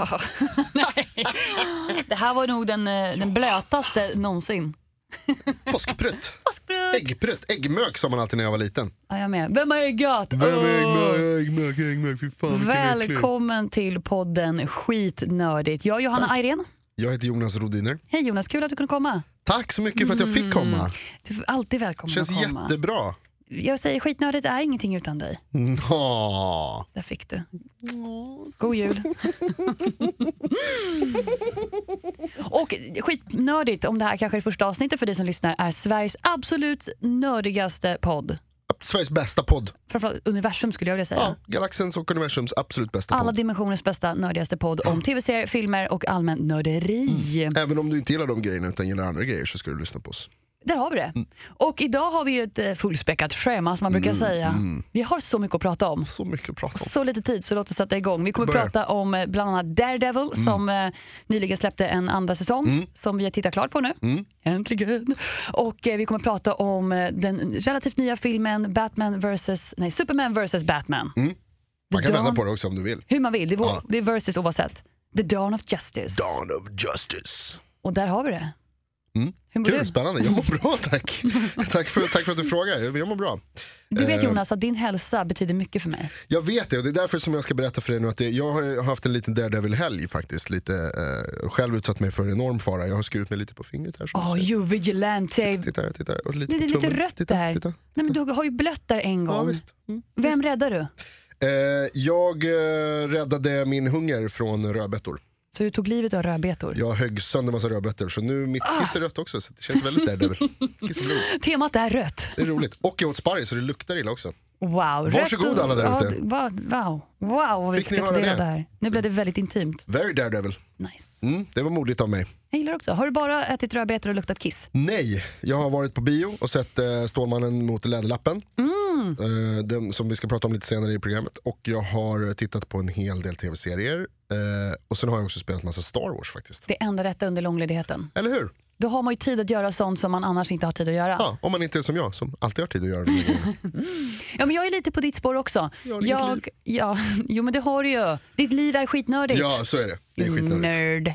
Nej. Det här var nog den, eh, den blötaste någonsin. Påskprutt. Påskbröd! Äggprutt. Äggmök sa man alltid när jag var liten. Ja, jag med. Vem har äggat? Åh. äggmök, äggmök. Fy fan Välkommen till podden Skitnördigt. Jag är Johanna Ayrén. Jag heter Jonas Rodiner. Hej Jonas, kul att du kunde komma. Tack så mycket för att jag fick komma. Du är alltid välkommen Känns att Mm, komma. jättebra. Jag säger skitnördigt är ingenting utan dig. Nå. Där fick du. God jul. och skitnördigt, om det här kanske är första avsnittet för dig som lyssnar, är Sveriges absolut nördigaste podd. Sveriges bästa podd. Framförallt universum skulle jag vilja säga. Ja, galaxens och universums absolut bästa Alla podd. dimensioners bästa nördigaste podd om tv-serier, filmer och allmän nörderi. Även om du inte gillar de grejerna utan gillar andra grejer så ska du lyssna på oss. Där har vi det. Mm. Och idag har vi ju ett eh, fullspäckat schema som man brukar säga. mm. Vi har så mycket att prata om. Så mycket att prata om. Så lite tid så låt oss sätta igång. Vi kommer Börja. Mm. prata om eh, bland annat Daredevil som eh, nyligen släppte en andra säsong som vi har tittat klart på nu. Mm. Äntligen! Och eh, vi kommer prata om eh, den relativt nya filmen Batman versus, nej, Superman vs Batman. Mm. Man kan Dawn- vända på det också om du vill. Hur man vill, det är, vår, Ja. det är versus oavsett. The Dawn of Justice. Dawn of Justice. Och där har vi det. Mm. Hur mår Kul, du? spännande. Jag mår bra tack. tack, för, tack för att du frågar. Jag jag mår bra. Du vet Eh, Jonas att din hälsa betyder mycket för mig. Jag vet det och det är därför som jag ska berätta för er nu att det, jag har haft en liten Daredevil-helg faktiskt. Lite, eh, själv utsatt mig för en enorm fara. Jag har skurit mig lite på fingret här. som Åh, du ser. you vigilante! Titta här, titta här. Och lite Det är på lite tummen. rött titta, där. Titta. Nej, men du har ju blött där en gång. Ja, visst. Mm. Vem räddar du? Eh, jag eh, räddade min hunger från rödbetor. Så du tog livet av rödbetor? Jag högg sönder massa rödbetor så nu mitt Ah. kiss är rött också så det känns väldigt Daredevil. Kiss är blod. Temat är rött. Det är roligt. Och jag åt sparris så det luktar illa också. Wow. Varsågod rött och- alla där ja, ute. d- va- Wow, wow vad vi Fick ni ska ta höra del av det? det här. Nu blev det väldigt intimt. Very Daredevil. Nice. Mm, det var modigt av mig. Jag gillar också. Har du bara ätit rödbetor och luktat kiss? Nej, jag har varit på bio och sett eh, Stålmannen mot Läderlappen. Mm. Eh, den som vi ska prata om lite senare i programmet. Och jag har tittat på en hel del tv-serier. Eh, och sen har jag också spelat massa Star Wars faktiskt. Det enda rätta under långledigheten. Eller hur? Då har man ju tid att göra sånt som man annars inte har tid att göra. Ja, om man inte är som jag som alltid har tid att göra de här grejerna. Ja, men jag är lite på ditt spår också. Jag har inget liv. ja, jo men det har du ju. Ditt liv är skitnördigt. Ja, så är det. Det är skitnödigt. Nerd.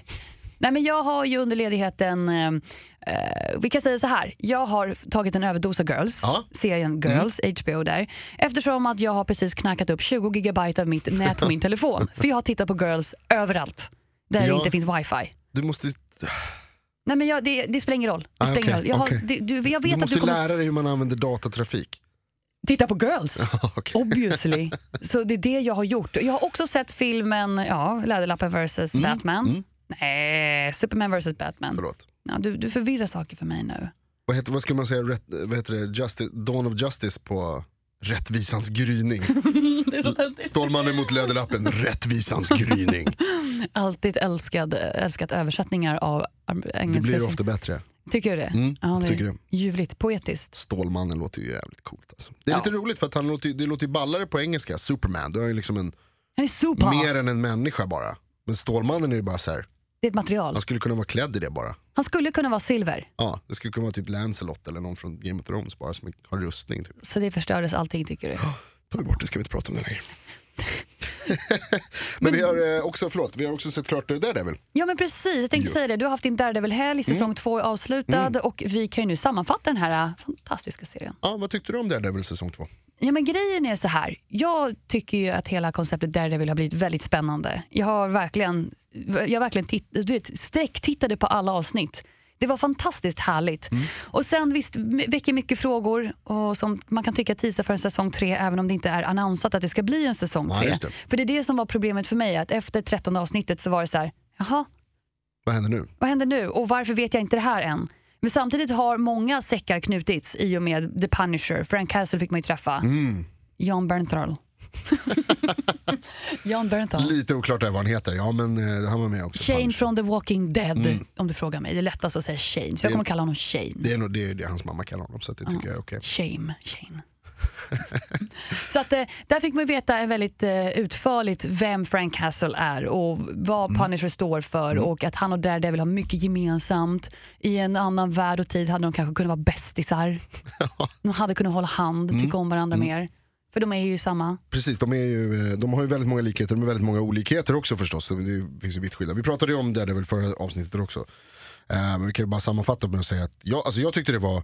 Nej, men jag har ju under ledigheten, eh, eh, vi kan säga så här, jag har tagit en överdos av Girls, Ja. Mm. serien Girls, HBO där, eftersom att jag har precis knackat upp 20 gigabyte av mitt nät på min telefon. För jag har tittat på Girls överallt, där det Ja. inte finns wifi. Du måste, Nej, men jag, det, det spelar ingen roll. Det Ah, spelar ingen okej, roll. Jag, har, okej. det, du, jag vet du att måste du kommer lära dig hur man använder datatrafik. titta på Girls. Okej. Obviously. Så det är det jag har gjort. Jag har också sett filmen ja, Läderlappen vs Mm. Batman. Nej, Superman vs Batman. Förlåt. Ja, du, du förvirrar saker för mig nu. Vad, heter, vad ska man säga, rätt, vad heter det, Justi- Dawn of Justice på Rättvisans gryning. Det är så töntigt. Stålmannen mot Läderlappen, Rättvisans gryning. Alltid älskad, älskat översättningar av ar- Det engelska. blir ofta bättre. Tycker du det? Mm, ja, det tycker är det. ljuvligt, poetiskt. Stålmannen låter ju jävligt coolt. Alltså. Det är Ja. lite roligt för att han låter, ju- det låter ju ballare på engelska. Superman, då är han ju liksom en, Han är super. mer än en människa bara. Men Stålmannen är ju bara så här. Det är ett material. han skulle kunna vara klädd i det bara. Han skulle kunna vara silver, Ja, det skulle kunna vara typ Lancelot eller någon från Game of Thrones bara som har rustning. Typ. så det förstördes allting tycker du. Ta bort det, ska vi inte prata om det längre. Men vi har eh, också, förlåt, vi har också sett klart eh, det där väl. Ja men precis, jag tänkte Jo. säga det. Du har haft din Daredevil-helg, Mm. säsong två är avslutad och vi kan ju nu sammanfatta den här äh, fantastiska serien. Ja, vad tyckte du om Daredevil säsong två? Ja, men grejen är så här. Jag tycker ju att hela konceptet Daredevil har blivit väldigt spännande. Jag har verkligen, jag har verkligen titt, du vet, sträcktittade på alla avsnitt. Det var fantastiskt härligt. Mm. Och sen visst, m- väcker mycket frågor och som man kan tycka teasar för en säsong tre även om det inte är annonsat att det ska bli en säsong Ja, tre. just det. för det är det som var problemet för mig, att efter 13 avsnittet så var det så här, jaha, Vad händer nu? vad händer nu och varför vet jag inte det här än? Men samtidigt har många säckar knutits i och med The Punisher. Frank Castle fick man ju träffa. Jan Bernthal. Jan Bernthal. Lite oklart där vad han heter, ja men eh, han var med också. Shane Fan. från The Walking Dead, om du frågar mig. Det är lättast att säga Shane, så jag kommer kalla honom Shane. Det är nog det, är det hans mamma kallar honom så att det tycker jag är okej. Shame, Shane. så att, eh, där fick man veta en väldigt eh, utförligt vem Frank Castle är och vad Punisher står för och att han och Daredevil har mycket gemensamt. I en annan värld och tid hade de kanske kunnat vara bästisar. De hade kunnat hålla hand, tycka om varandra mer. För de är ju samma. Precis, de, är ju, eh, de har ju väldigt många likheter men väldigt många olikheter också förstås. Så Det finns ju vitt skilda. Vi pratade ju om Daredevil förra avsnittet också. Eh, Men vi kan ju bara sammanfatta med att säga att jag, alltså jag tyckte det var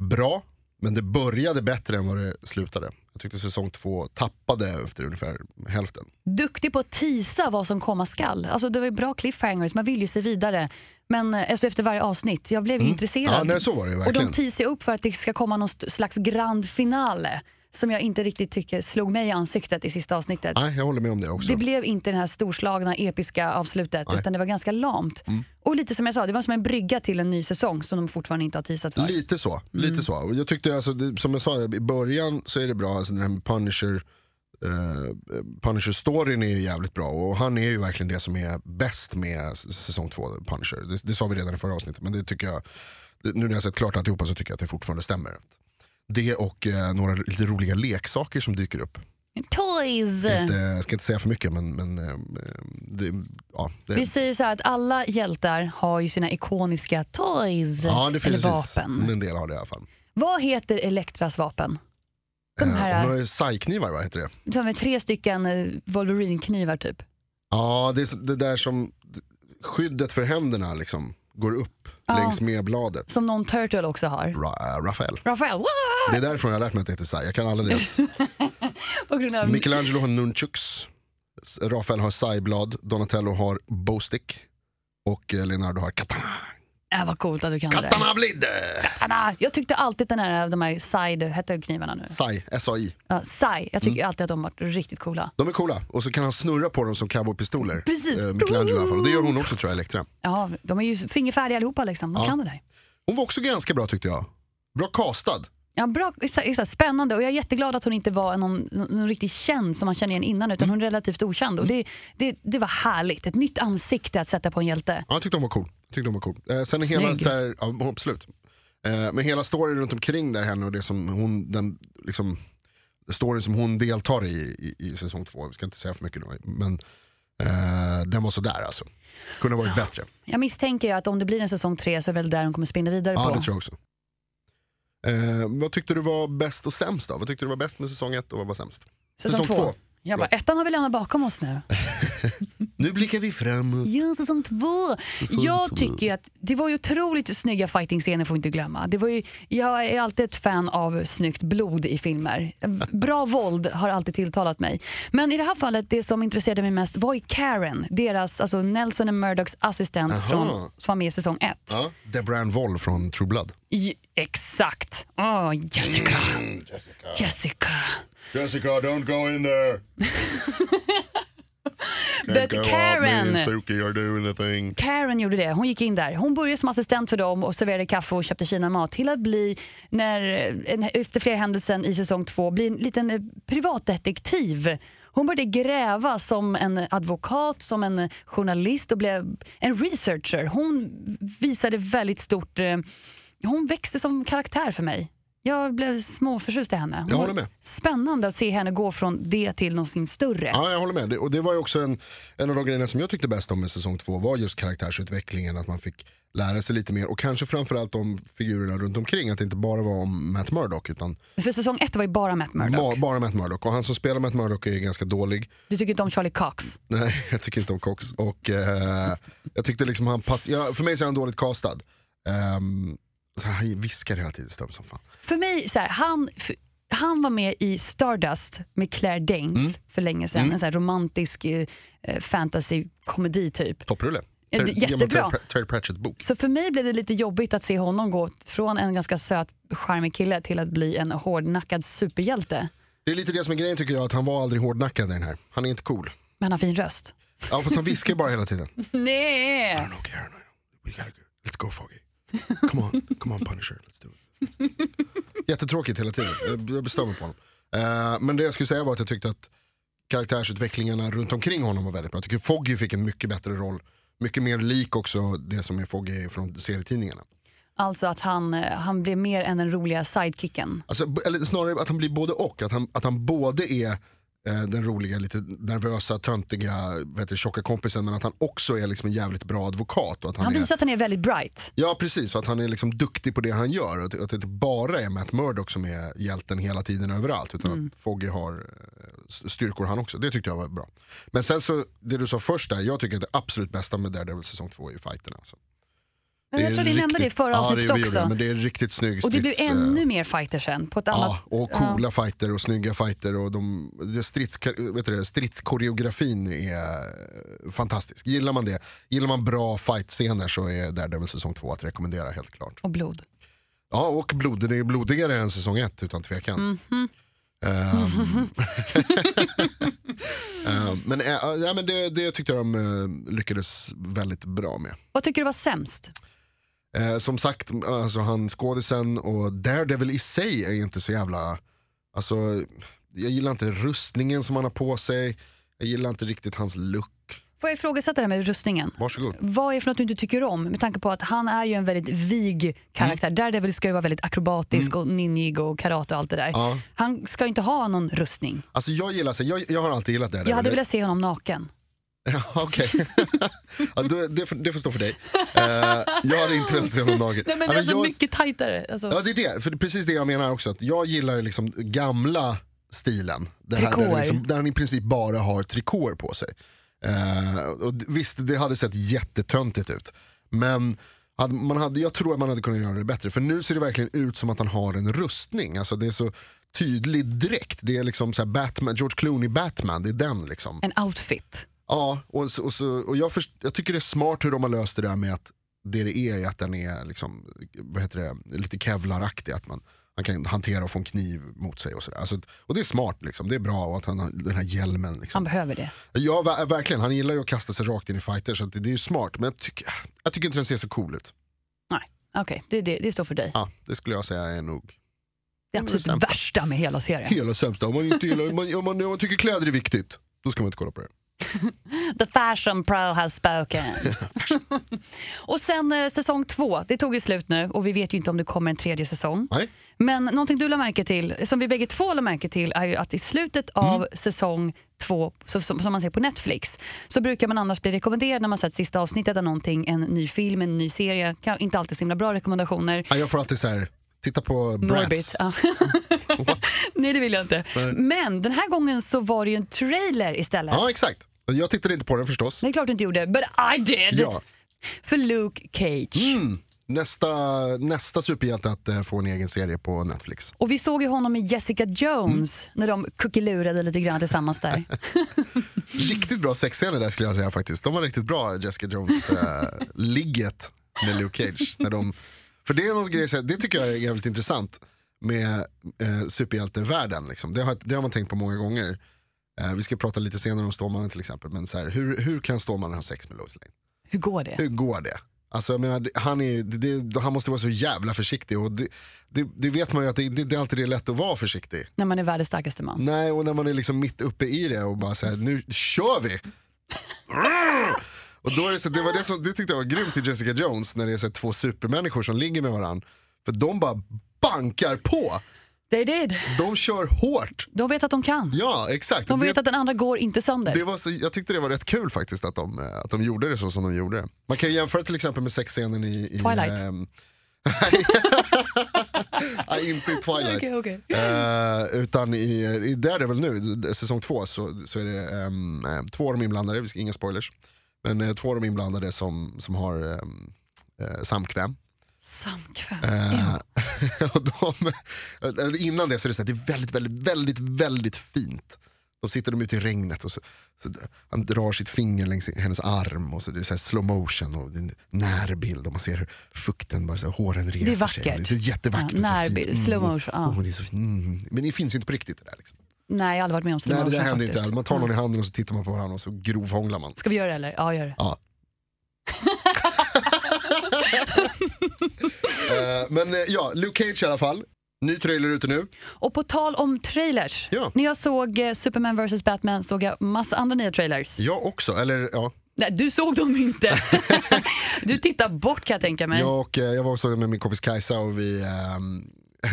bra, men det började bättre än vad det slutade. Jag tyckte säsong två tappade efter ungefär hälften. Duktig på att tisa vad som komma skall. Alltså det var ju bra cliffhangers, man vill ju se vidare. Men eh, alltså, efter varje avsnitt, jag blev ju intresserad. Ja, nej, så var det ju och verkligen. de teasar ju upp för att det ska komma någon st- slags grand finale som jag inte riktigt tycker slog mig i ansiktet i sista avsnittet. Nej, jag håller med om det också. Det blev inte det här storslagna, episka avslutet Nej. Mm. utan det var ganska lamt. Och lite som jag sa, det var som en brygga till en ny säsong som de fortfarande inte har teasat för. Lite så. Mm. Lite så. Och Jag tyckte, alltså, det, som jag sa i början så är det bra, alltså, den här med Punisher, eh, Punisher-storyn är ju jävligt bra och han är ju verkligen det som är bäst med s- säsong två, Punisher. Det, det sa vi redan i förra avsnittet men det tycker jag, det- nu när jag sett klart alltihopa så tycker jag att det fortfarande stämmer. Det och eh, några lite roliga leksaker som dyker upp. Toys! Jag ska inte, ska inte säga för mycket men, men eh, det, ja, det, Vi säger så här att alla hjältar har ju sina ikoniska toys ja, det eller finns vapen. Men en del har det i alla fall. Vad heter Elektras vapen? De Eh, här- hon har ju sajknivar, vad heter det? Som är tre stycken eh, Wolverine-knivar typ. Ja, det, är så- det där som skyddet för händerna liksom går upp Ja. längs med bladet. Som någon Turtle också har. Ra- äh, Rafael. Rafael, wow! Det är därifrån jag har lärt mig att det heter Sai. Jag kan alla deras. På grund av... Michelangelo har nunchucks. S- Rafael har Sai-blad. Donatello har bowstick. Och eh, Leonardo har katana. Äh, vad coolt att du kan det där. Katana blide! Katana! Jag tyckte alltid den här, de här side, hette knivarna nu? Sai, S-A-I. Ja, sai. Jag Mm. tycker alltid att de varit riktigt coola. De är coola. Och så kan han snurra på dem som cowboypistoler. Precis. Eh, Michelangelo i alla fall. Och det gör hon också tror jag, Elektra. Ja, de är ju fingerfärdiga allihopa liksom. De Ja. kan det där. Hon var också ganska bra tyckte jag. Bra castad. Ja, bra, exa- exa- spännande och jag är jätteglad att hon inte var någon, någon riktigt känd som man känner igen innan Mm. utan hon är relativt okänd och det, det, det var härligt. Ett nytt ansikte att sätta på en hjälte. Ja, jag tyckte hon var cool. Jag tyckte hon var cool. Eh, sen hela, Snygg. så här, ja, absolut. Eh, men hela storyn runt omkring där henne och det som hon, den liksom, storyn som hon deltar i, i i säsong två, vi ska inte säga för mycket då, men eh, den var sådär alltså. Kunde ha varit bättre. Jag misstänker ju att om det blir en säsong tre så är det väl där hon kommer spinna vidare Ja, på. det tror jag också. Eh, vad tyckte du var bäst och sämst då? Vad tyckte du var bäst med säsong ett och vad var sämst? Säsong, Säsong två. två. Jag bara, ettan har vi lämnat bakom oss nu. Nu blickar vi framåt. Ja, säsong två. Säsong två. jag tycker ju att det var ju otroligt snygga fighting-scener får vi inte glömma. Det var ju, jag är alltid ett fan av snyggt blod i filmer. Bra våld har alltid tilltalat mig. Men i det här fallet, det som intresserade mig mest var ju Karen, deras, alltså Nelson and Murdochs assistent Aha. från, som var med i säsong ett. Ja, Debran Woll från True Blood. J- exakt. Åh, Jessica. Mm, Jessica. Jessica, don't go in there! But Karen. Suki, you're doing the thing. Karen gjorde det. Hon gick in där. Hon började som assistent för dem och serverade kaffe och köpte Kina-mat till att bli, när, en- efter flera händelsen i säsong två, bli en liten eh, privatdetektiv. Hon började gräva som en advokat, som en journalist och blev en researcher. Hon visade väldigt stort... eh, Hon växte som karaktär för mig. Jag blev småförtjust i henne. Hon Jag var håller med. Spännande att se henne gå från det till någonting större. Ja, jag håller med. Det, och det var ju också en, en av de grejerna som jag tyckte bäst om med säsong två var just karaktärsutvecklingen, att man fick lära sig lite mer och kanske framförallt om figurerna runt omkring, att det inte bara var om Matt Murdock utan För säsong ett var ju bara Matt Murdock. ma- bara Matt Murdock. Och han som spelar Matt Murdock är ganska dålig. Du tycker inte om Charlie Cox? Nej, jag tycker inte om Cox. Och eh, jag tyckte liksom han pass- ja, för mig så är han dåligt castad. Ehm, så han viskar hela tiden, stör mig som fan. För mig, så här, han, f- han var med i Stardust med Claire Danes Mm. för länge sedan. En så här romantisk eh, eh, fantasy-komedi typ. Topprulle. Ja, det är Ter- gammal jättebra. Terry Pr- Terry Pratchett bok. Så för mig blev det lite jobbigt att se honom gå från en ganska söt, charmig kille till att bli en hårdnackad superhjälte. Det är lite det som är grejen tycker jag, att han var aldrig hårdnackad i den här. Han är inte cool. Men han har fin röst. Ja fast han viskar ju bara hela tiden. Nej! don't care. No, we gotta go. Let's go Foggy. Come on, come on Punisher. Let's do it. Jättetråkigt hela tiden. Jag- Jag bestämmer på honom. Eh, men det jag skulle säga var att jag tyckte att karaktärsutvecklingarna runt omkring honom var väldigt bra. Jag tycker Foggy fick en mycket bättre roll. Mycket mer lik också det som är Foggy från serietidningarna. Alltså att han, eh, han blev mer än den roliga sidekicken. Alltså, b- eller snarare att han blir både och. Att han, att han både är eh, den roliga, lite nervösa, töntiga, vet du, tjocka kompisen men att han också är liksom en jävligt bra advokat. Och att han Han är, visar att han är väldigt bright. ja precis, och att han är liksom duktig på det han gör. Och att, att det inte bara är Matt Murdock som är hjälten hela tiden överallt utan Mm. att Foggy har eh, s- styrkor han också. Det tyckte jag var bra. Men sen så, det du sa först där, jag tycker att det absolut bästa med Daredevil säsong 2 är ju fighterna. Alltså. Men Det jag är tror vi nämnde det i riktigt- förra ja, avsnittet det gjorde vi, också. Men det är riktigt snygg och det blev strids, eh, ännu mer fighter sen på ett annat... Ja, och coola fighter och snygga fighter och de, det strids, vet du det, stridskoreografin är eh, fantastisk. Gillar man det, gillar man bra fightscener så är Daredevil säsong 2 att rekommendera helt klart. Och blod. Ja, och blod, det är blodigare än säsong 1 utan tvekan. Ehm, ehm, men eh, ja, men det, det tyckte jag de eh, lyckades väldigt bra med. Vad tycker du var sämst? Eh, som sagt, alltså han skådisen och Daredevil i sig är inte så jävla... Alltså, jag gillar inte rustningen som han har på sig. Jag gillar inte riktigt hans look. Får jag ifrågasätta det här med rustningen? Varsågod. Vad är det för något du inte tycker om? Med tanke på att han är ju en väldigt vig karaktär. Mm. Daredevil ska ju vara väldigt akrobatisk och ninjig och karate och allt det där. Ja. Han ska ju inte ha någon rustning. Alltså jag gillar sig, jag, jag har alltid gillat Daredevil. Jag hade velat se honom naken. Ja, Okej. ja, det, det, får- det får stå för dig. Eh, jag hade inte velat se honom naken. Nej, men Ja, det är alltså jag- mycket tajtare. Alltså, Ja det är det, för det är precis det jag menar också. Att jag gillar ju liksom gamla stilen. Det Där, Trikåer. det liksom, där han i princip bara har trikåer på sig. Eh, och d- visst, det hade sett jättetöntigt ut. Men hade, man hade, jag tror att man hade kunnat göra det bättre. För nu ser det verkligen ut som att han har en rustning. Alltså det är så tydlig dräkt. Det är liksom så här Batman, George Clooney Batman, det är den liksom. En outfit. Ja, och, så, och, så, och jag, först, jag tycker det är smart hur de har löst det där med att det det är är att den är liksom, vad heter det, lite kevlaraktig. Att man, han kan hantera och få en kniv mot sig och sådär. Alltså, och det är smart, liksom. det är bra och att han har den här hjälmen. Han Liksom. behöver det. Ja, ver- verkligen. Han gillar ju att kasta sig rakt in i fighter så att det, det är ju smart. Men jag tycker, jag tycker inte den ser så cool ut. Nej, okej. Det, det, det står för dig. Ja, det skulle jag säga är nog Det är det är absolut det sämsta. värsta med hela serien. hela sämsta. Om man, inte gillar, om man, om man, om man tycker kläder är viktigt, då ska man inte kolla på det. The fashion pro has spoken. och sen eh, säsong två, det tog ju slut nu och vi vet ju inte om det kommer en tredje säsong. Nej? Men någonting du lade märke till, som vi bägge två lade märke till, är ju att i slutet Mm. av säsong två, så, som, som man ser på Netflix, så brukar man annars bli rekommenderad när man sett sista avsnittet av någonting, en ny film, en ny serie, kan, inte alltid så himla bra rekommendationer. Ja, jag får alltid så här, titta på Norbit. Bratz. Ja. What? Nej, det vill jag inte. Men den här gången så var det ju en trailer istället. Ja, exakt. Jag tittade inte på den förstås. Det är klart du inte gjorde, but I did! Ja. Mm. För Luke Cage. Nästa, nästa superhjälte att eh, få en egen serie på Netflix. Och vi såg ju honom i Jessica Jones Mm. när de kuckelurade lite grann tillsammans där. Riktigt bra sexscener där skulle jag säga faktiskt. De var riktigt bra Jessica Jones-ligget med Luke Cage. När de, för det är något grej, så här- det tycker jag är jävligt intressant med eh, superhjältevärlden. Liksom. Det, har, det har man tänkt på många gånger. Eh, vi ska prata lite senare om Stålmannen till exempel. Men så här, hur, hur kan Stålmannen ha sex med Lois Lane? Hur går det? Hur går det? Alltså, jag menar, han, är, det, det, han måste vara så jävla försiktig. Och det, det, det vet man ju att det, det, det är alltid det är lätt att vara försiktig. När man är världens starkaste man. Nej, och när man är liksom mitt uppe i det och bara så här, nu kör vi! och då är det, så, det, var det, som, det tyckte jag var grymt i Jessica Jones, när det är så här, två supermänniskor som ligger med varandra. För de bara bankar på, They did! de kör hårt. De vet att de kan. Ja, exakt. De vet det, att den andra går inte sönder. det var så, jag tyckte det var rätt kul faktiskt att de, eh, att de gjorde det så som de gjorde. Man kan ju jämföra till exempel med sexscenen i... i Twilight. ehm, Nej, inte i Twilight. Okej, okej. Eh, utan i, i Daredevil nu, d- säsong två, så, så är det ehm, eh, två av de inblandade, vi ska, inga spoilers, men eh, två av de inblandade som, som har ehm, eh, samkväm. Samkväm. Eh, Ja. och de, eller innan det så är det, så här, det är väldigt, väldigt, väldigt, väldigt fint. Då sitter de ute i regnet och så, så d- han drar sitt finger längs i- hennes arm och så det är så här slow motion och det är en närbild och man ser hur fukten, bara så här, håren reser sig. vackert. Det är så jättevackert. Ja, och så närbild, fint. Mm. slow motion, ja. Åh, det är så fint. Mm. Men det finns ju inte på riktigt det där. Liksom. Nej, jag har aldrig varit med om slow Nej, det där motion händer faktiskt. Mm. inte. Man tar någon i handen och så tittar man på varandra och så grovhånglar man. Ska vi göra det eller? Ja, gör det. Ja. Eh, men eh, ja, Luke Cage i alla fall. Ny trailer ute nu. Och på tal om trailers. Ja. När jag såg eh, Superman vs Batman såg jag massa andra nya trailers. Jag också, eller ja. Nej, du såg dem inte. du tittar bort kan jag tänka mig. Jag, och, eh, jag var också med min kompis Kajsa och vi, ehm,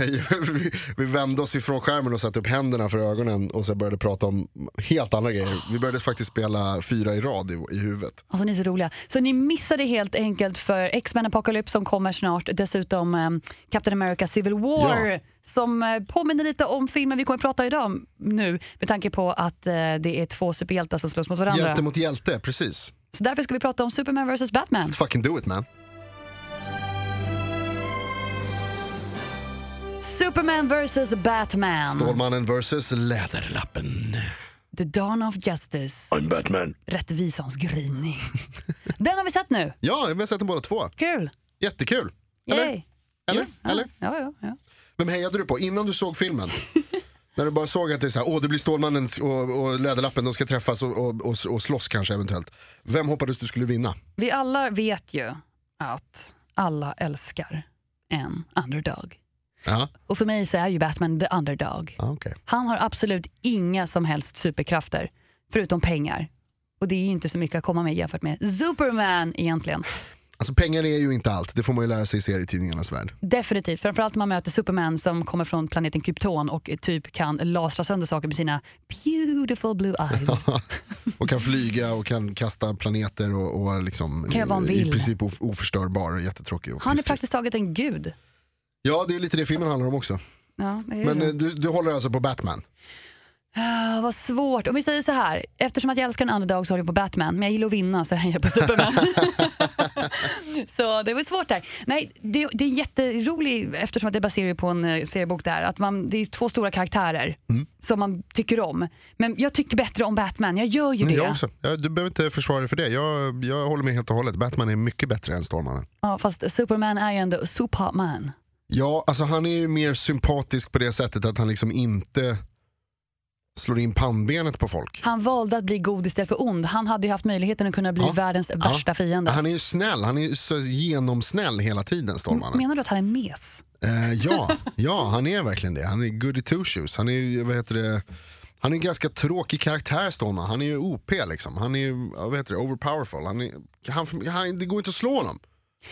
vi, vi vände oss ifrån skärmen och satte upp händerna för ögonen och så började prata om helt andra grejer. Vi började faktiskt spela fyra i rad i, i huvudet. Alltså ni är så roliga. Så ni missade helt enkelt för X-Men Apocalypse som kommer snart. Dessutom eh, Captain America Civil War Ja. som eh, påminner lite om filmen vi kommer att prata idag om nu med tanke på att eh, det är två superhjältar som slåss mot varandra. Hjälte mot hjälte, precis. Så därför ska vi prata om Superman vs Batman. Fucking do it man. Superman vs Batman. Stålmannen versus Läderlappen. The Dawn of Justice. I'm Batman. Rättvisans gryning. Den har vi sett nu. Ja, vi har sett dem båda två. Kul! Jättekul. Yay. Eller? Eller? Ja, Eller? Ja, ja, ja. Vem hejade du på innan du såg filmen? När du bara såg att det är så här, åh det blir Stålmannen och, och Läderlappen, de ska träffas och, och, och, och slåss kanske eventuellt. Vem hoppades du skulle vinna? Vi alla vet ju att alla älskar en underdog. Ja, Och för mig så är ju Batman the underdog. ah, okej. Han har absolut inga som helst superkrafter, förutom pengar. Och det är ju inte så mycket att komma med jämfört med Superman egentligen. Alltså pengar är ju inte allt, det får man ju lära sig i serietidningarnas värld. Definitivt, framförallt när man möter Superman som kommer från planeten Krypton och typ kan lasra sönder saker med sina beautiful blue eyes. Och kan flyga och kan kasta planeter och, och liksom Kan göra vad han i- vill. i princip of, oförstörbar och jättetråkig. Och Han är trist. praktiskt taget en gud. Ja, det är lite det filmen handlar om också. Ja, det är ju Men det. eh, du, du håller alltså på Batman? Ah, vad svårt. Om vi säger så här, eftersom att jag älskar en underdog så håller jag på Batman, men jag gillar att vinna så jag hejar på Superman. så det var svårt där. Nej, det, det är jätteroligt eftersom att det baserar ju på en eh, seriebok där, att man, det är två stora karaktärer Mm. som man tycker om. Men jag tycker bättre om Batman, jag gör ju det. Mm, Jag också. Ja, du behöver inte försvara dig för det. Jag, jag håller med helt och hållet. Batman är mycket bättre än Stålmannen. Ja, fast Superman är ju ändå Superman. Ja, alltså han är ju mer sympatisk på det sättet att han liksom inte slår in pannbenet på folk. Han valde att bli god istället för ond. Han hade ju haft möjligheten att kunna bli Ja. världens värsta fiende. Han är ju snäll, han är ju så genomsnäll hela tiden Stålmannen. Menar du att han är mes? Eh, ja, ja, han är verkligen det. Han är goody two shoes. Han är ju, vad heter det, han är en ganska tråkig karaktär Stålmannen. Han är ju OP liksom. Han är ju, vad heter det, overpowerful. Han är, han, han, det går inte att slå honom.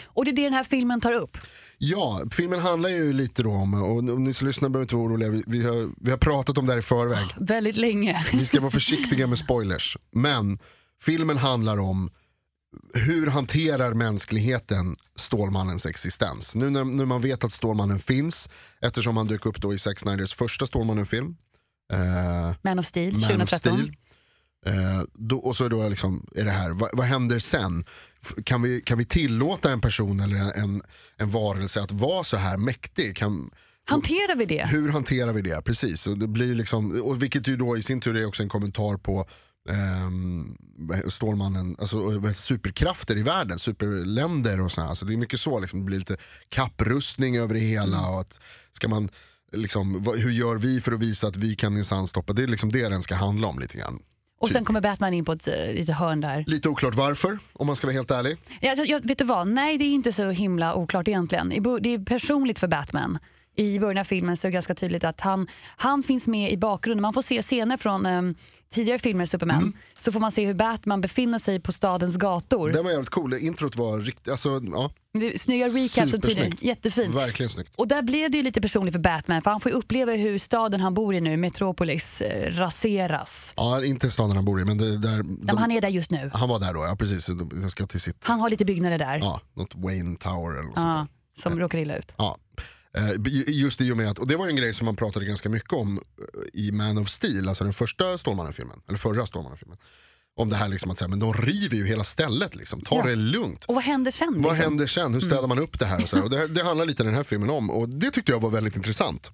Och det är det den här filmen tar upp. Ja, filmen handlar ju lite då om, och om ni som lyssnar behöver inte vara oroliga, vi, vi, har, vi har pratat om det här i förväg. Väldigt länge. Vi ska vara försiktiga med spoilers. Men filmen handlar om hur hanterar mänskligheten Stålmannens existens? Nu när, när man vet att Stålmannen finns, eftersom han dök upp då i Zack Snyders första Stålmannen-film, eh, Man of Steel Man of 2013. Steel. Eh, då, och så då liksom, är det här, vad, vad händer sen? F- Kan vi, kan vi tillåta en person eller en, en varelse att vara så här mäktig? Kan, Hanterar vi det? hur hanterar vi det? Precis, och det blir liksom, och vilket ju då i sin tur är också en kommentar på ehm, vad- Stålmannen, alltså vad- superkrafter i världen, superländer och sådär. Alltså det är mycket så, liksom, det blir lite kapprustning över det hela. Och att, ska man, liksom, vad, hur gör vi för att visa att vi kan minsann stoppa? Det är liksom det den ska handla om lite grann. Och sen kommer Batman in på ett eh, litet hörn där. Lite oklart varför, om man ska vara helt ärlig. Jag, jag, jag, vet du vad? Nej, det är inte så himla oklart egentligen. I bo- Det är personligt för Batman. I början av filmen så är det ganska tydligt att han, han finns med i bakgrunden. Man får se scener från eh, tidigare filmer, Superman. Mm. Så får man se hur Batman befinner sig på stadens gator. Den var jävligt cool, introt var riktigt, alltså, ja, Det- Snygga recaps som tidigare. Supersnyggt. Jättefint. verkligen snyggt. Och där blev det ju lite personligt för Batman. För han får ju uppleva hur staden han bor i nu, Metropolis, eh, raseras. Ja, inte staden han bor i, men det, Ja, där, men de, han är där just nu. han var där då, ja precis. Jag ska till sitt Han har lite byggnader där. Ja, något Wayne Tower eller något Ja, sånt som råkar illa ut. där. Ja. Eh, ju- Just i och med att, och det var ju en grej som man pratade ganska mycket om eh, i Man of Steel, alltså den första Stålmannen-filmen, eller förra Stålmannen-filmen. Om det här liksom att säga, men de river ju hela stället liksom, ta Ja. det lugnt. Och vad händer sen? Vad liksom? händer sen? Hur städar man upp det här? Och så här. Och det, det handlar lite den här filmen om och det tyckte jag var väldigt intressant.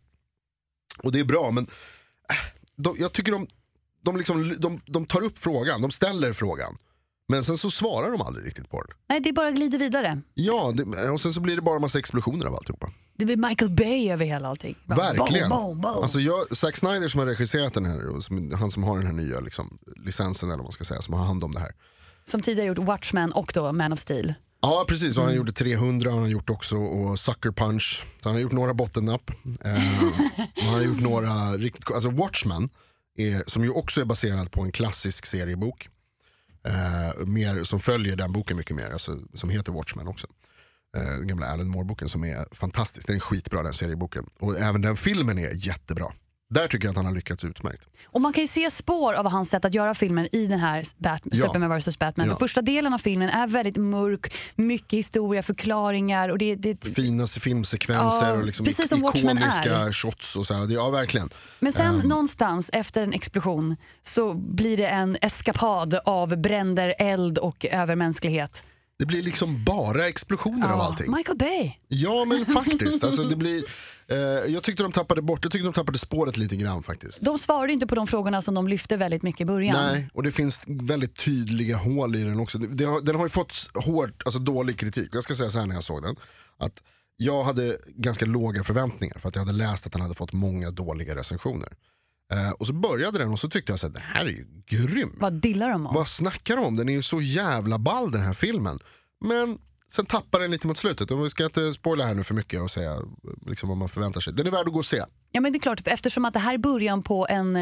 Och det är bra men äh, de, jag tycker de, de, liksom, de, de tar upp frågan, de ställer frågan. Men sen så svarar de aldrig riktigt på den. Nej, det bara glider vidare. Ja, det, och sen så blir det bara massa explosioner av alltihopa. Det blir Michael Bay över hela allting. Bara Verkligen. Boom, boom, boom. Alltså jag, Zack Snyder som har regisserat den här, och som, han som har den här nya liksom, licensen eller vad man ska säga, som har hand om det här. Som tidigare gjort Watchmen och då Man of Steel. Ja precis, Mm. och han gjorde 300 har han gjort också och Sucker Punch. Så han har gjort några bottennapp. Eh, och han har gjort några riktigt, alltså Watchmen, är, som ju också är baserad på en klassisk seriebok. Eh, mer, som följer den boken mycket mer, alltså, som heter Watchmen också. eh, den gamla Alan Moore-boken som är fantastisk. Den är skitbra den serieboken. Och även den filmen är jättebra. Där tycker jag att han har lyckats utmärkt. Och man kan ju se spår av hans sätt att göra filmen i den här Bat- Ja. Superman vs Batman. Ja. För första delen av filmen är väldigt mörk, mycket historia, förklaringar och det, det, Fina filmsekvenser Ja, och liksom precis som Watchmen ikoniska är. shots. Och så här. Det- Ja, verkligen. Men sen Ehm. någonstans efter en explosion så blir det en eskapad av bränder, eld och övermänsklighet. Det blir liksom bara explosioner av allting. Michael Bay. Ja men faktiskt. Alltså, det blir, eh, jag tyckte de tappade bort, jag tyckte de tappade spåret lite grann faktiskt. De svarade inte på de frågorna som de lyfte väldigt mycket i början. Nej, och det finns väldigt tydliga hål i den också. Det- det har- Den har ju fått hårt, alltså dålig kritik. Och Jag ska säga så här när jag såg den. Att jag hade ganska låga förväntningar för att jag hade läst att den hade fått många dåliga recensioner. Eh, och så började den och så tyckte jag att den här är ju grym. Vad dillar de om? Vad snackar de om? Den är ju så jävla ball den här filmen. Men sen tappar den lite mot slutet. Och vi ska inte spoila här nu för mycket och säga liksom, vad man förväntar sig. Den är värd att gå och se. Ja, men det är klart, eftersom att det här är början på en,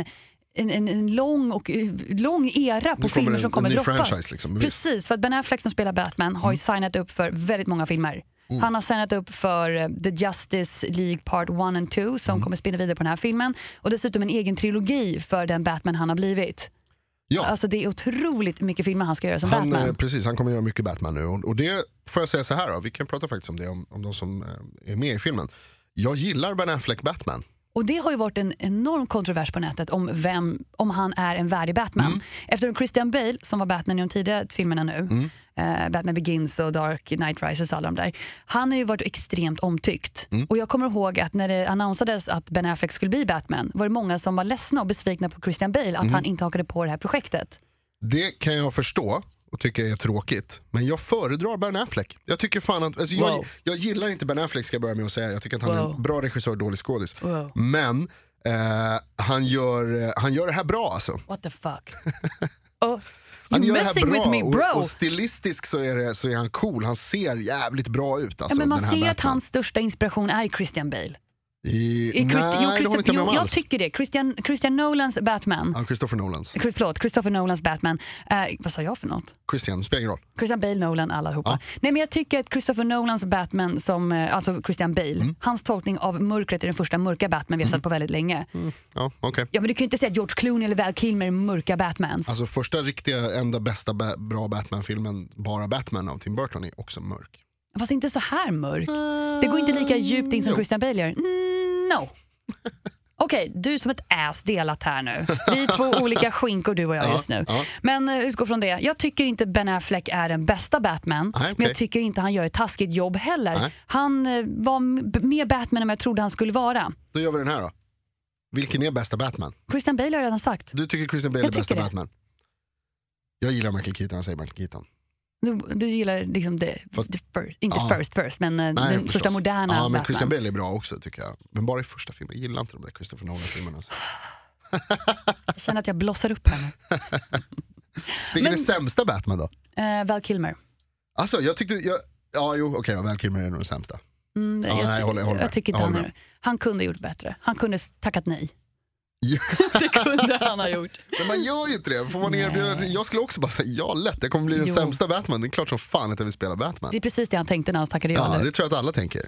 en, en, en lång, och, eh, lång era på Nu kommer filmer en- som en kommer ny droppa. franchise, liksom, visst. Mm. Precis, för att Ben Affleck som spelar Batman har ju signat upp för väldigt många filmer. Han har signat upp för eh, The Justice League Part 1 and 2 som Mm. kommer spinna vidare på den här filmen. Och dessutom en egen trilogi för den Batman han har blivit. Ja, Alltså det är otroligt mycket filmer han ska göra som han, eh, Batman. precis, han kommer göra mycket Batman nu. Och, och det får jag säga så här då. Vi kan prata faktiskt om det, om, om de som eh, är med i filmen. Jag gillar Ben Affleck Batman. Och det har ju varit en enorm kontrovers på nätet om vem, om han är en värdig Batman. Mm. Eftersom Christian Bale, som var Batman i de tidiga filmerna nu, Mm. eh, Batman Begins och Dark Knight Rises och alla de där, han har ju varit extremt omtyckt. Mm. Och jag kommer ihåg att när det annonsades att Ben Affleck skulle bli Batman var det många som var ledsna och besvikna på Christian Bale Mm. att han inte hakade på det här projektet. Det kan jag förstå och tycker är tråkigt. Men jag föredrar Ben Affleck. Jag tycker fan att, alltså jag, Wow. jag gillar inte Ben Affleck ska jag börja med att säga. Jag tycker att han är Wow. en bra regissör, dålig skådis. Wow. Men eh, han, gör, eh, han gör det här bra alltså. What the fuck? oh, Han you're gör det här messing bra with me bro! Och, och stilistiskt så är, det, så är han cool. Han ser jävligt bra ut. ja, Alltså, men man den här ser att Batman. hans största inspiration är Christian Bale. I, I Christ- nej, jo, det Christop- håller inte med jo, om jag alls. tycker det. Christian, Christian Nolans Batman. Ja, Christopher Nolans. Chris- Förlåt, Christopher Nolans Batman. Eh, vad sa jag för något? Christian, det spelar ingen roll. Christian Bale, Nolan, allihopa. Nej, men jag tycker att Christopher Nolans Batman, som, eh, alltså Christian Bale, Mm. hans tolkning av mörkret är den första mörka Batman vi har sett på väldigt länge. Ja, okej. Ja, men du kan ju inte säga att George Clooney eller Val Kilmer är mörka Batmans. Alltså första riktiga, enda bästa ba- bra Batman-filmen, bara Batman av Tim Burton, är också mörk. Fast inte så här mörk. Det går inte lika djupt in som jo. Christian Bale gör. Mm, no. Okej, du är som ett ass delat här nu. Vi är två olika skinkor du och jag just nu. ja. Men eh, utgå från det. Jag tycker inte Ben Affleck är den bästa Batman. Nej, Men okej. jag tycker inte han gör ett taskigt jobb heller. Nej. Han eh, var m- b- mer Batman än vad jag trodde han skulle vara. Då gör vi den här då. Vilken är bästa Batman? Christian Bale har jag redan sagt. Du tycker Christian Bale Jag är bästa tycker det. Batman? Jag gillar Michael Keaton, jag säger Michael Keaton. Du, du gillar liksom det, Fast- the first, inte Ja. first first, men eh, den förstås. första moderna ja, men Batman. Christian Bale är bra också tycker jag. Men bara i första filmen, jag gillar inte de där Christopher Nolan-filmerna. Alltså. Jag känner att jag blossar upp här nu. Vilken Men- är sämsta Batman då? Eh, Val Kilmer. Alltså jag tyckte, jag, ja jo okej då, Val Kilmer är nog den sämsta. Mm, Ja, jag, nej, ty- jag håller- jag håller med. tycker inte Jag han, håller är, han kunde ha gjort bättre. Han kunde s- tackat nej. Ja. det kunde han ha gjort. Men man gör ju inte det. Får man Nej. erbjudandet- jag skulle också bara säga ja lätt, jag kommer bli den Jo. sämsta Batman. Det är klart som fan att jag vill spela Batman. Det är precis det han tänkte när han tackade ja. Ja, eller? det tror jag att alla tänker.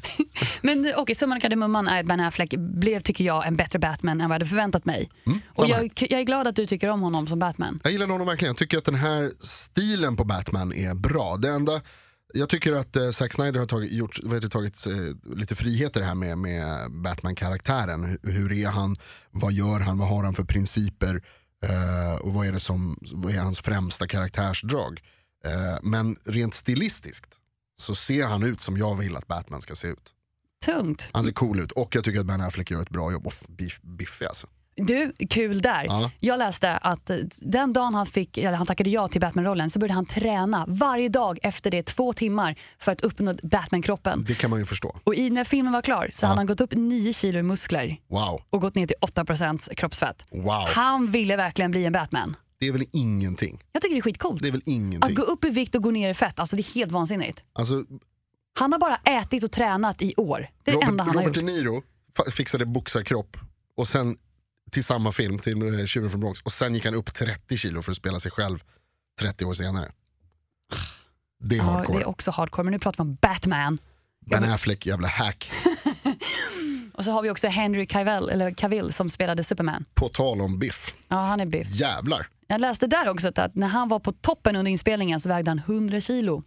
Men eh, okej, summan av kardemumman är att Ben Affleck blev, tycker jag, en bättre Batman än vad jag hade förväntat mig. Och Mm, samma här. jag, jag är glad att du tycker om honom som Batman. Jag gillar honom verkligen. Jag tycker att den här stilen på Batman är bra. Det enda, jag tycker att eh, Zack Snyder har tagit, gjort, vad heter, det, tagit eh, lite friheter här med, med Batman-karaktären. Hur, hur är han? Vad gör han? Vad har han för principer? Eh, och vad är, det som, vad är hans främsta karaktärsdrag? Eh, men rent stilistiskt så ser han ut som jag vill att Batman ska se ut. Tungt. Han ser cool ut och jag tycker att Ben Affleck gör ett bra jobb. Och f- biff, biffig alltså. Du, kul där. Ja. Jag läste att eh, den dagen han, fick, eller han tackade ja till Batman-rollen så började han träna varje dag efter det två timmar för att uppnå Batman-kroppen. Det kan man ju förstå. Och i, när filmen var klar så hade han gått upp 9 kilo i muskler. Wow, och gått ner till 8% kroppsfett. wow. Han ville verkligen bli en Batman. Det är väl ingenting. Jag tycker det är skitcoolt. Det är väl Att ingenting. gå upp i vikt och gå ner i fett, alltså det är helt vansinnigt. Alltså, Han har bara ätit och tränat i år. Det är det enda Robert, han Robert De har gjort. Niro fa- fixade boxarkropp och sen till samma film, till eh, Tjuven från Bronx. Och sen gick han upp 30 kilo för att spela sig själv 30 år senare. Det är Ja, hardcore. det är också hardcore, men nu pratar vi om Batman. Ben Affleck, jävla hack. Och så har vi också Henry Cavill, eller Cavill som spelade Superman. På tal om biff. Ja, han är biff. Jävlar. Jag läste där också att- att när han var på toppen under inspelningen så vägde han 100 kilo.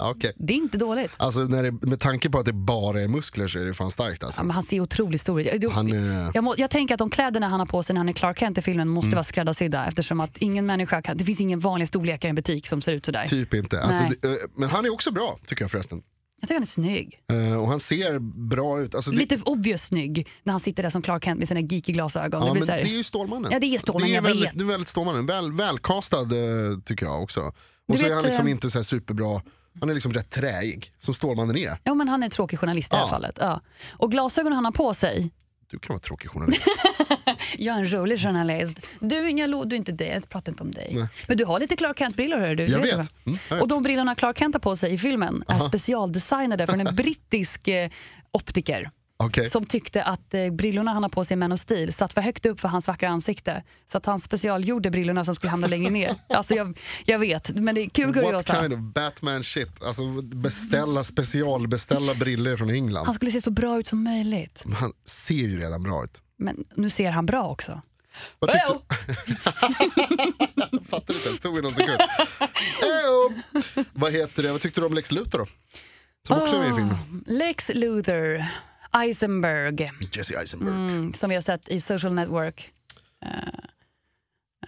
Ja, Okej. Det är inte dåligt. Alltså när det, med tanke på att det bara är muskler så är det fan starkt Ja, alltså. men han ser otroligt stor ut. Jag- Han eh, är... Jag, må, jag tänker att de kläderna han har på sig när han är Clark Kent i filmen Mm. måste vara skräddarsydda eftersom att ingen människa kan, det finns ingen vanlig storlek i en butik som ser ut sådär. Typ inte. Alltså, Nej. det, eh, men han är också bra tycker jag förresten. Jag tycker han är snygg. Eh, och han ser bra ut. Alltså, det, Lite obvious snygg när han sitter där som Clark Kent med sina geeky glasögon. ja, det men blir det såhär, är ju Stålmannen. Ja, det är Stålmannen, det är jag väldigt, vet. Det är väldigt Stålmannen. Väl, välkastad eh, tycker jag också. Och Du så är vet, han liksom eh, inte så här superbra. Han är liksom rätt träig, som Stålmannen är. ja, men han är en tråkig journalist i det här Ja. fallet. Ja. Och glasögonen han har på sig, Du kan vara tråkig journalist. jag är en rolig journalist. Du Inga Lo, du är inte det, jag pratar inte om dig. Men du har lite Clark Kent-brillor hör du. Jag Du vet. det, va? Mm, jag vet. Och de brillorna Clark Kent har på sig i filmen är specialdesignade från en brittisk eh, optiker. Okej. som tyckte att eh, brillorna han har på sig i Man of Steel satt för högt upp för hans vackra ansikte. Så att han specialgjorde brillorna som skulle hamna längre ner. Alltså jag, jag vet, men det är kul What kuriosa. kind of Batman shit? Alltså beställa, specialbeställa briller från England. Han skulle se så bra ut som möjligt. Men Han ser ju redan bra ut. Men nu ser han bra också. Vad tyckte Well, Jag fattar inte, jag stod i någon sekund. Ejo! Vad heter det? Vad tyckte du om Lex Luthor då? Som också är Ah. med i filmen. Lex Luthor, Eisenberg, Jesse Eisenberg. mm, som vi har sett i Social Network. Eh,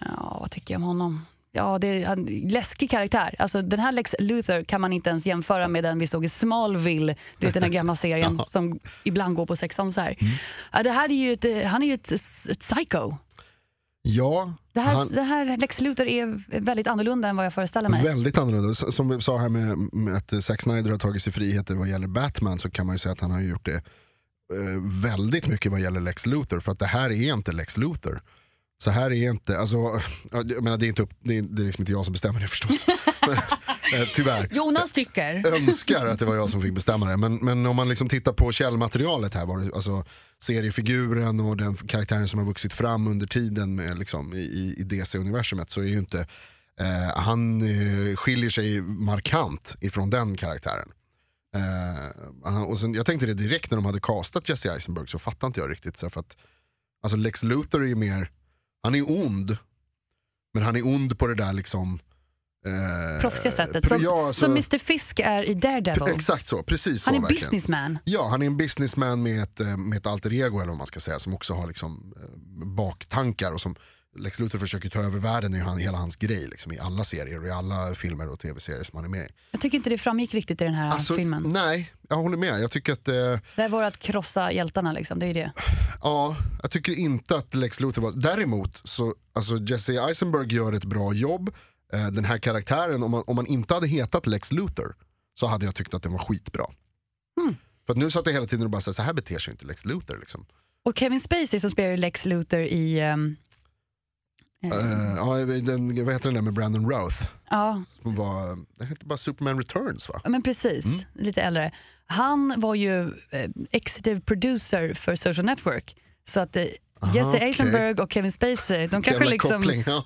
ja, vad tycker jag om honom? Ja, det är en läskig karaktär. Alltså, den här Lex Luthor kan man inte ens jämföra med den vi såg i Smallville. Du vet den där gamla serien som ibland går på sexan så här. Mm. Ja, det här är ju ett, eh, han är ju ett, ett psycho. Ja, Det här, han, det här Lex Luthor är väldigt annorlunda än vad jag föreställer mig. väldigt annorlunda. S- Som vi sa här med, med att Zack Snyder har tagit sig friheter vad gäller Batman så kan man ju säga att han har gjort det eh, väldigt mycket vad gäller Lex Luthor. För att det här är inte Lex Luthor. Så här är inte, alltså, ja, jag menar, det, är inte upp, det, är, det är liksom inte jag som bestämmer det förstås. Men, eh, Tyvärr. Jonas tycker. önskar att det var jag som fick bestämma det. Men, men om man liksom tittar på källmaterialet här, var det, alltså seriefiguren och den karaktären som har vuxit fram under tiden med, liksom, i- i, i DC-universumet så är ju inte, eh, han eh, skiljer sig markant ifrån den karaktären. Eh, han- och sen, jag tänkte det direkt när de hade castat Jesse Eisenberg så fattade inte jag riktigt. Så här, för att, alltså Lex Luthor är ju mer, han är ond, men han är ond på det där liksom eh, Proffsiga sättet. pro- Som, ja, alltså- som Mr Fisk är i Daredevil. Exakt så, precis Han är så verkligen. businessman. Ja, han är en businessman med ett, eh, med ett alter ego eller vad man ska säga som också har liksom, eh, baktankar och som Lex Luthor försöker ta över världen i han, hela hans grej liksom, i alla serier och i alla filmer och tv-serier som han är med i. Jag tycker inte det framgick riktigt i den här Alltså, filmen. Nej, jag håller med. Jag tycker att eh, Det var att krossa hjältarna, liksom. det är ju det. Ja, jag tycker inte att Lex Luthor var... Däremot, så, alltså Jesse Eisenberg gör ett bra jobb. Eh, Den här karaktären, om man, om man inte hade hetat Lex Luthor så hade jag tyckt att den var skitbra. Mm. För att nu satt jag hela tiden och bara sa, så här beter sig inte Lex Luthor. Liksom. Och Kevin Spacey som spelar Lex Luthor i... ehm, eh, Eh, ja, den, vad heter den där med Brandon Routh? Ja, Som var, den hette bara Superman Returns va? men precis. Mm. Lite äldre. Han var ju eh, executive producer för Social Network. Så att eh, Aha, Jesse Ah, okej. Eisenberg och Kevin Spacey, de kanske Jävla liksom koppling. Ja.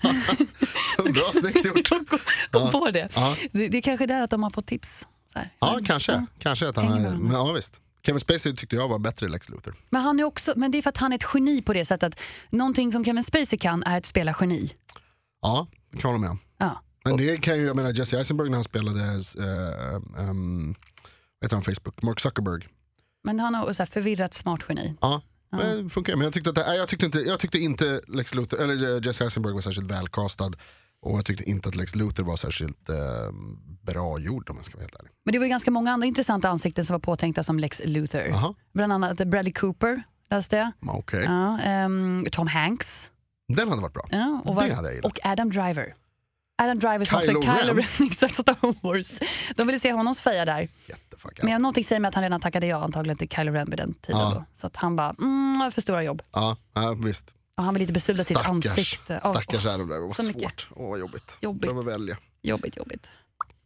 bra, snyggt gjort. de kom, kom på det. Ja. det. Det är kanske där att de har fått tips. Så här. Ja, kanske. Kanske att Hänger han, med. men, ja, visst. Kevin Spacey tyckte jag var bättre än Lex Luthor. Men, han är också, men det är för att han är ett geni på det sättet. Någonting som Kevin Spacey kan är att spela geni. Ja, det kan jag hålla med om. Ja. Men det kan ju, jag menar Jesse Eisenberg när han spelade, eh, ehm, vad heter han, Facebook, Mark Zuckerberg. Men han har så här förvirrat smart geni. Ja, men det funkar ju. Men jag tyckte, att, det- nej, jag, tyckte inte, jag tyckte inte Lex Luthor, eller eh, Jesse Eisenberg var särskilt välkastad. Och jag tyckte inte att Lex Luthor var särskilt eh, bra gjord om jag ska vara helt ärlig. Men det var ju ganska många andra intressanta ansikten som var påtänkta som Lex Luthor. Jaha, Bland annat Bradley Cooper läste jag. ja, okej. Ja, ehm, Tom Hanks. Den hade varit bra. Ja, och, Det hade jag gillat. och Adam Driver. Adam Driver som också Kylo är Kylo Ren. Ren, exakt Star Wars. De ville se honom feja där. Jättefuck Men jag, någonting säger mig att han redan tackade ja antagligen till Kylo Ren vid den tiden. Ja. Då. Så att han bara, mm, jag har för stora jobb. Ja, ja, visst. Och han vill lite besudla sitt Stackars, ansikte. Åh, stackars Adam Driver. Vad så mycket. svårt. Åh, vad jobbigt. Jobbigt. Behöver välja. jobbigt, jobbigt.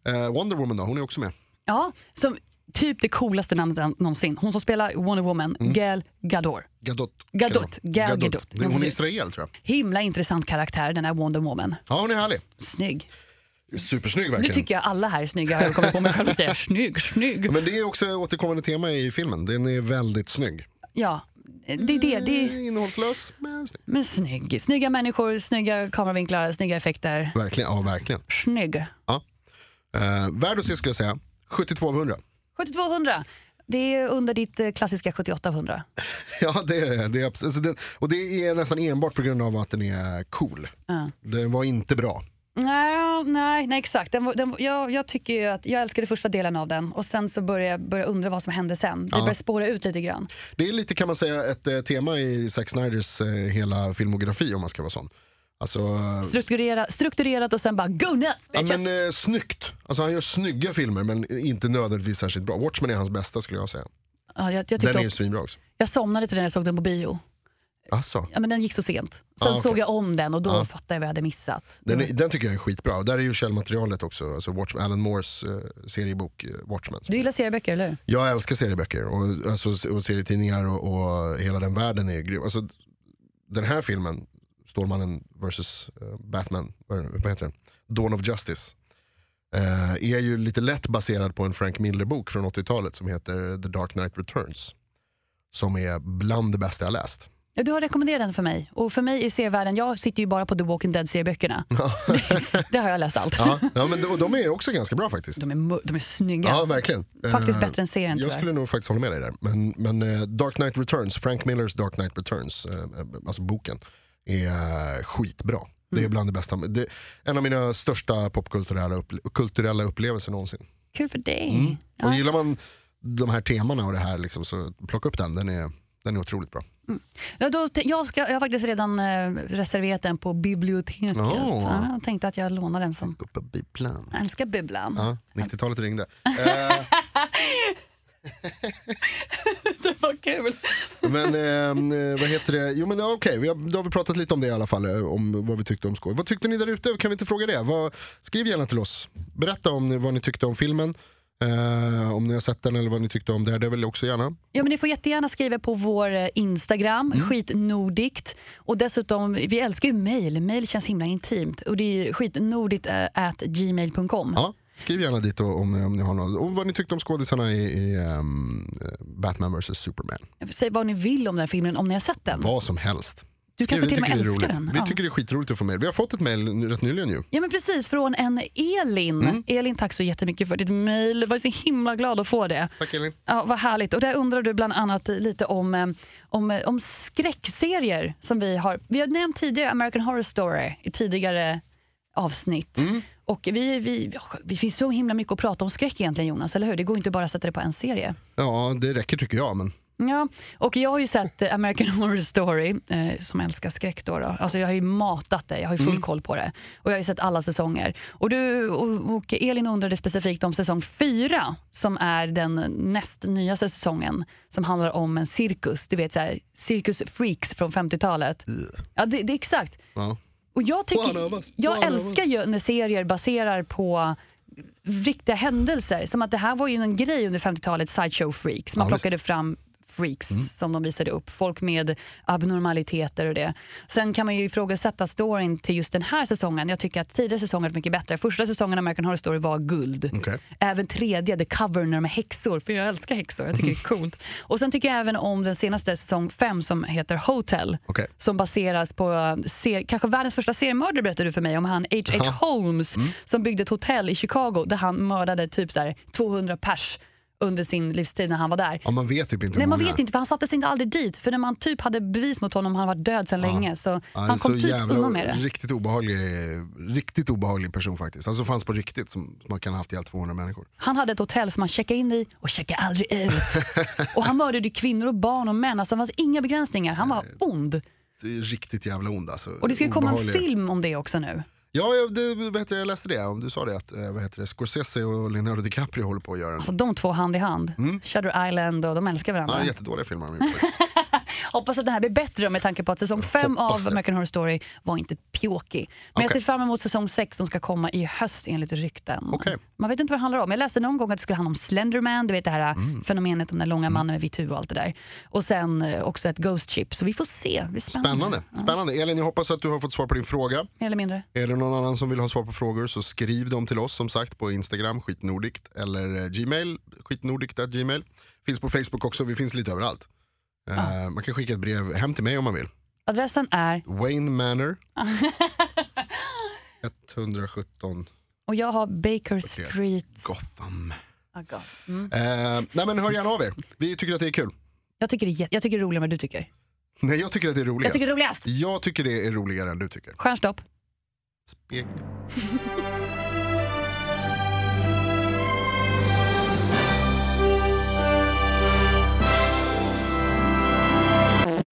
Eh, Wonder Woman då, hon är också med. Ja, som typ det coolaste namnet någonsin. Hon som spelar Wonder Woman, Mm. Gal Gadot. Gadot. Gadot. Gal Gadot. Hon är israel tror jag. Himla intressant karaktär den här Wonder Woman. Ja, hon är härlig. Snygg. Supersnygg Nu verkligen. tycker jag alla här är snygga. Jag kommer på mig själv och säger snygg, snygg. Ja, Men det är också ett återkommande tema i filmen. Den är väldigt snygg. Eh, Ja, det är det. det är, Innehållslös, men snygg. men snygg. Snygga människor, snygga kameravinklar, snygga effekter. Verkligen, ja verkligen. Snygg. Eh, värd att se skulle jag säga. 72 av 100. 7200. Det är under ditt eh, klassiska 7800. Ja det är det. det, är, abs- alltså den, och det är nästan enbart på grund av att den är cool. Ja. Den var inte bra. Nej, nej, nej exakt. Den, var- den, var- jag, jag tycker ju att jag älskade första delen av den och sen så började jag började undra vad som hände sen. Det började spåra ut lite grann. Det är lite kan man säga ett eh, tema i Zack Snyders eh, hela filmografi om man ska vara sån. Alltså, eh, Strukturera, strukturerat och sen bara go nuts ja, bitches! men, eh, snyggt. Alltså, han gör snygga filmer men inte nödvändigtvis särskilt bra. Watchmen är hans bästa skulle jag säga. ja, jag, jag, Den tyckte är ju också, svinbra också. jag somnade till den jag såg den på bio. Alltså, Ja, men den gick så sent. Sen Ah, okej. såg jag om den och då Ah. fattade jag vad jag hade missat. den, är, den tycker jag är skitbra. Där är ju källmaterialet också. Alltså Watchmen, Alan Moores eh, seriebok eh, Watchmen. Du gillar serieböcker, eller hur? Jag älskar serieböcker och, alltså, och serietidningar och, och hela den världen är grym. Alltså, den här filmen, Stålmannen vs eh, Batman, vad vad heter den? Dawn of Justice, eh, är ju lite lätt baserad på en Frank Miller-bok från 80-talet som heter The Dark Knight Returns. Som är bland det bästa jag läst. Ja, du har rekommenderat den för mig. Och för mig i serievärlden, jag sitter ju bara på The Walking Dead-serieböckerna. det, det har jag läst allt. Ja, ja men de, och de är också ganska bra faktiskt. De, är, mu- de är snygga. Ja, verkligen. Faktiskt Eh, bättre än serien Jag tyvärr. skulle nog faktiskt hålla med dig där. Men, men eh, Dark Knight Returns, Frank Millers Dark Knight Returns, eh, eh, alltså boken, är eh, skitbra. Det Mm. är bland det bästa. Det, en av mina största popkulturella upp, kulturella upplevelser någonsin. Kul för dig. Och Ja. gillar man de här temana och det här, liksom, så plocka upp den. Den är, den är otroligt bra. Ja, då, t- jag, ska, jag har faktiskt redan eh, reserverat den på biblioteket. Ja. Ja, jag tänkte att jag lånar den som... Uppe bibblan. Jag älskar bibblan. Ja, 90-talet ringde. Eh, Det var kul. men ehm, eh, vad heter det? Jo men ja, okej, vi har, då har vi pratat lite om det i alla fall. eh, Om vad vi tyckte om skoj. Vad tyckte ni där ute? Kan vi inte fråga det? Vad, skriv gärna till oss. Berätta om ni, vad ni tyckte om filmen. Eh, om ni har sett den eller vad ni tyckte om det. Det vill också gärna. Ja, men ni får jättegärna skriva på vår eh, Instagram, Mm. skitnordigt. Och dessutom, vi älskar ju mejl. Mejl känns himla intimt. Och det är ju skitnordigt eh, at gmail.com. Ja, skriv gärna dit då, om, om ni har något. Och vad ni tyckte om skådisarna i, i ehm, eh, Batman vs Superman. Säg vad ni vill om den här filmen, om ni har sett den. Vad som helst. Du Skriv, kanske till och med tycker det är älskar roligt. den. Vi Ja. tycker det är skitroligt att få mejl. Vi har fått ett mejl nu- rätt nyligen ju. Ja men precis, från en Elin. Mm. Elin, tack så jättemycket för ditt mejl. Jag var så himla glad att få det. Tack Elin. Ja, vad härligt. Och där undrar du bland annat lite om, eh, om, eh, om skräckserier som vi har. Vi har nämnt tidigare American Horror Story i tidigare avsnitt. Och vi, vi, vi finns så himla mycket att prata om skräck egentligen Jonas, eller hur? Det går inte bara att sätta det på en serie. Ja, det räcker tycker jag. Men Ja, och jag har ju sett eh, American Horror Story, eh, som älskar skräck då. då. Alltså jag har ju matat det, jag har ju full koll på det. Och jag har ju sett alla säsonger. Och, du, och, och Elin undrade specifikt om säsong fyra, som är den näst nyaste säsongen, som handlar om en cirkus. Du vet, så här, cirkus freaks från 50-talet. Ja, det, det är exakt. ja. Och jag One of tycker, us, one jag of älskar us. ju när serier baserar på riktiga händelser. Som att det här var ju en grej under 50-talet, sideshow freaks. Man Ja, plockade fram freaks som de visade upp. Folk med abnormaliteter och det. Sen kan man ju ifrågasätta storyn till just den här säsongen. Jag tycker att tidigare säsonger har varit mycket bättre. Första säsongen av American Horror Story var guld. Okej. Även tredje, The Cover, när de är häxor. För jag älskar häxor, jag tycker det är coolt. Och sen tycker jag även om den senaste säsong fem som heter Hotel Okej. som baseras på eh, ser, kanske världens första seriemördare berättade du för mig om han H.H. Holmes Mm. som byggde ett hotell i Chicago där han mördade typ så här 200 pers under sin livstid när han var där. ja, man vet typ inte hur Nej man många- vet inte för han sattes inte aldrig dit för när man typ hade bevis mot honom han var död sedan länge så är han kom så typ jävla- undan med det. Riktigt obehaglig, riktigt obehaglig person faktiskt. Alltså fanns på riktigt som, som man kan ha haft ihjäl 200 människor. Han hade ett hotell som han checkade in i och checkade aldrig ut. och han mördade kvinnor och barn och män, alltså det fanns inga begränsningar. Han var ond. Det är riktigt jävla ond alltså. Och det ska ju komma en Obehaglig. film om det också nu. Ja, jag, det, vad heter det, jag läste det, om du sa det, att eh, vad heter det, Scorsese och Leonardo DiCaprio håller på att göra en. Mm. Alltså de två hand i hand. Shutter Island och de älskar varandra. ja, jättedåliga filmer de gjort faktiskt. Hoppas att den här blir bättre med tanke på att säsong 5 av Hoppas det. American Horror Story var inte pjåkig. Men jag Okej. ser fram emot säsong 6 som ska komma i höst enligt rykten. Okej. Man vet inte vad det handlar om. Jag läste någon gång att det skulle handla om Slenderman, du vet det här äh, Mm. fenomenet om den långa mannen med vitt huvud och allt det där. Och sen eh, också ett Ghost Ship, så vi får se. Det är spännande. Spännande. Spännande. Elin, jag hoppas att du har fått svar på din fråga. Mer eller mindre. Är det någon annan som vill ha svar på frågor så skriv dem till oss som sagt på Instagram, skitnordikt eller eh, Gmail, skitnordikt.gmail. Finns på Facebook också, vi finns lite överallt. Eh, man kan skicka ett brev hem till mig om man vill. Adressen är, Wayne Manor. 117 och jag har Baker Street. Gotham. Ah, God. Mm. Eh, nej men hör gärna av er, vi tycker att det är kul. Jag, tycker det är, jä- jag tycker det är roligare än vad du tycker. Nej jag tycker att det är Jag roligast. tycker det är roligast. Jag tycker det är roligare än du tycker. Stjärnstopp. Spegel.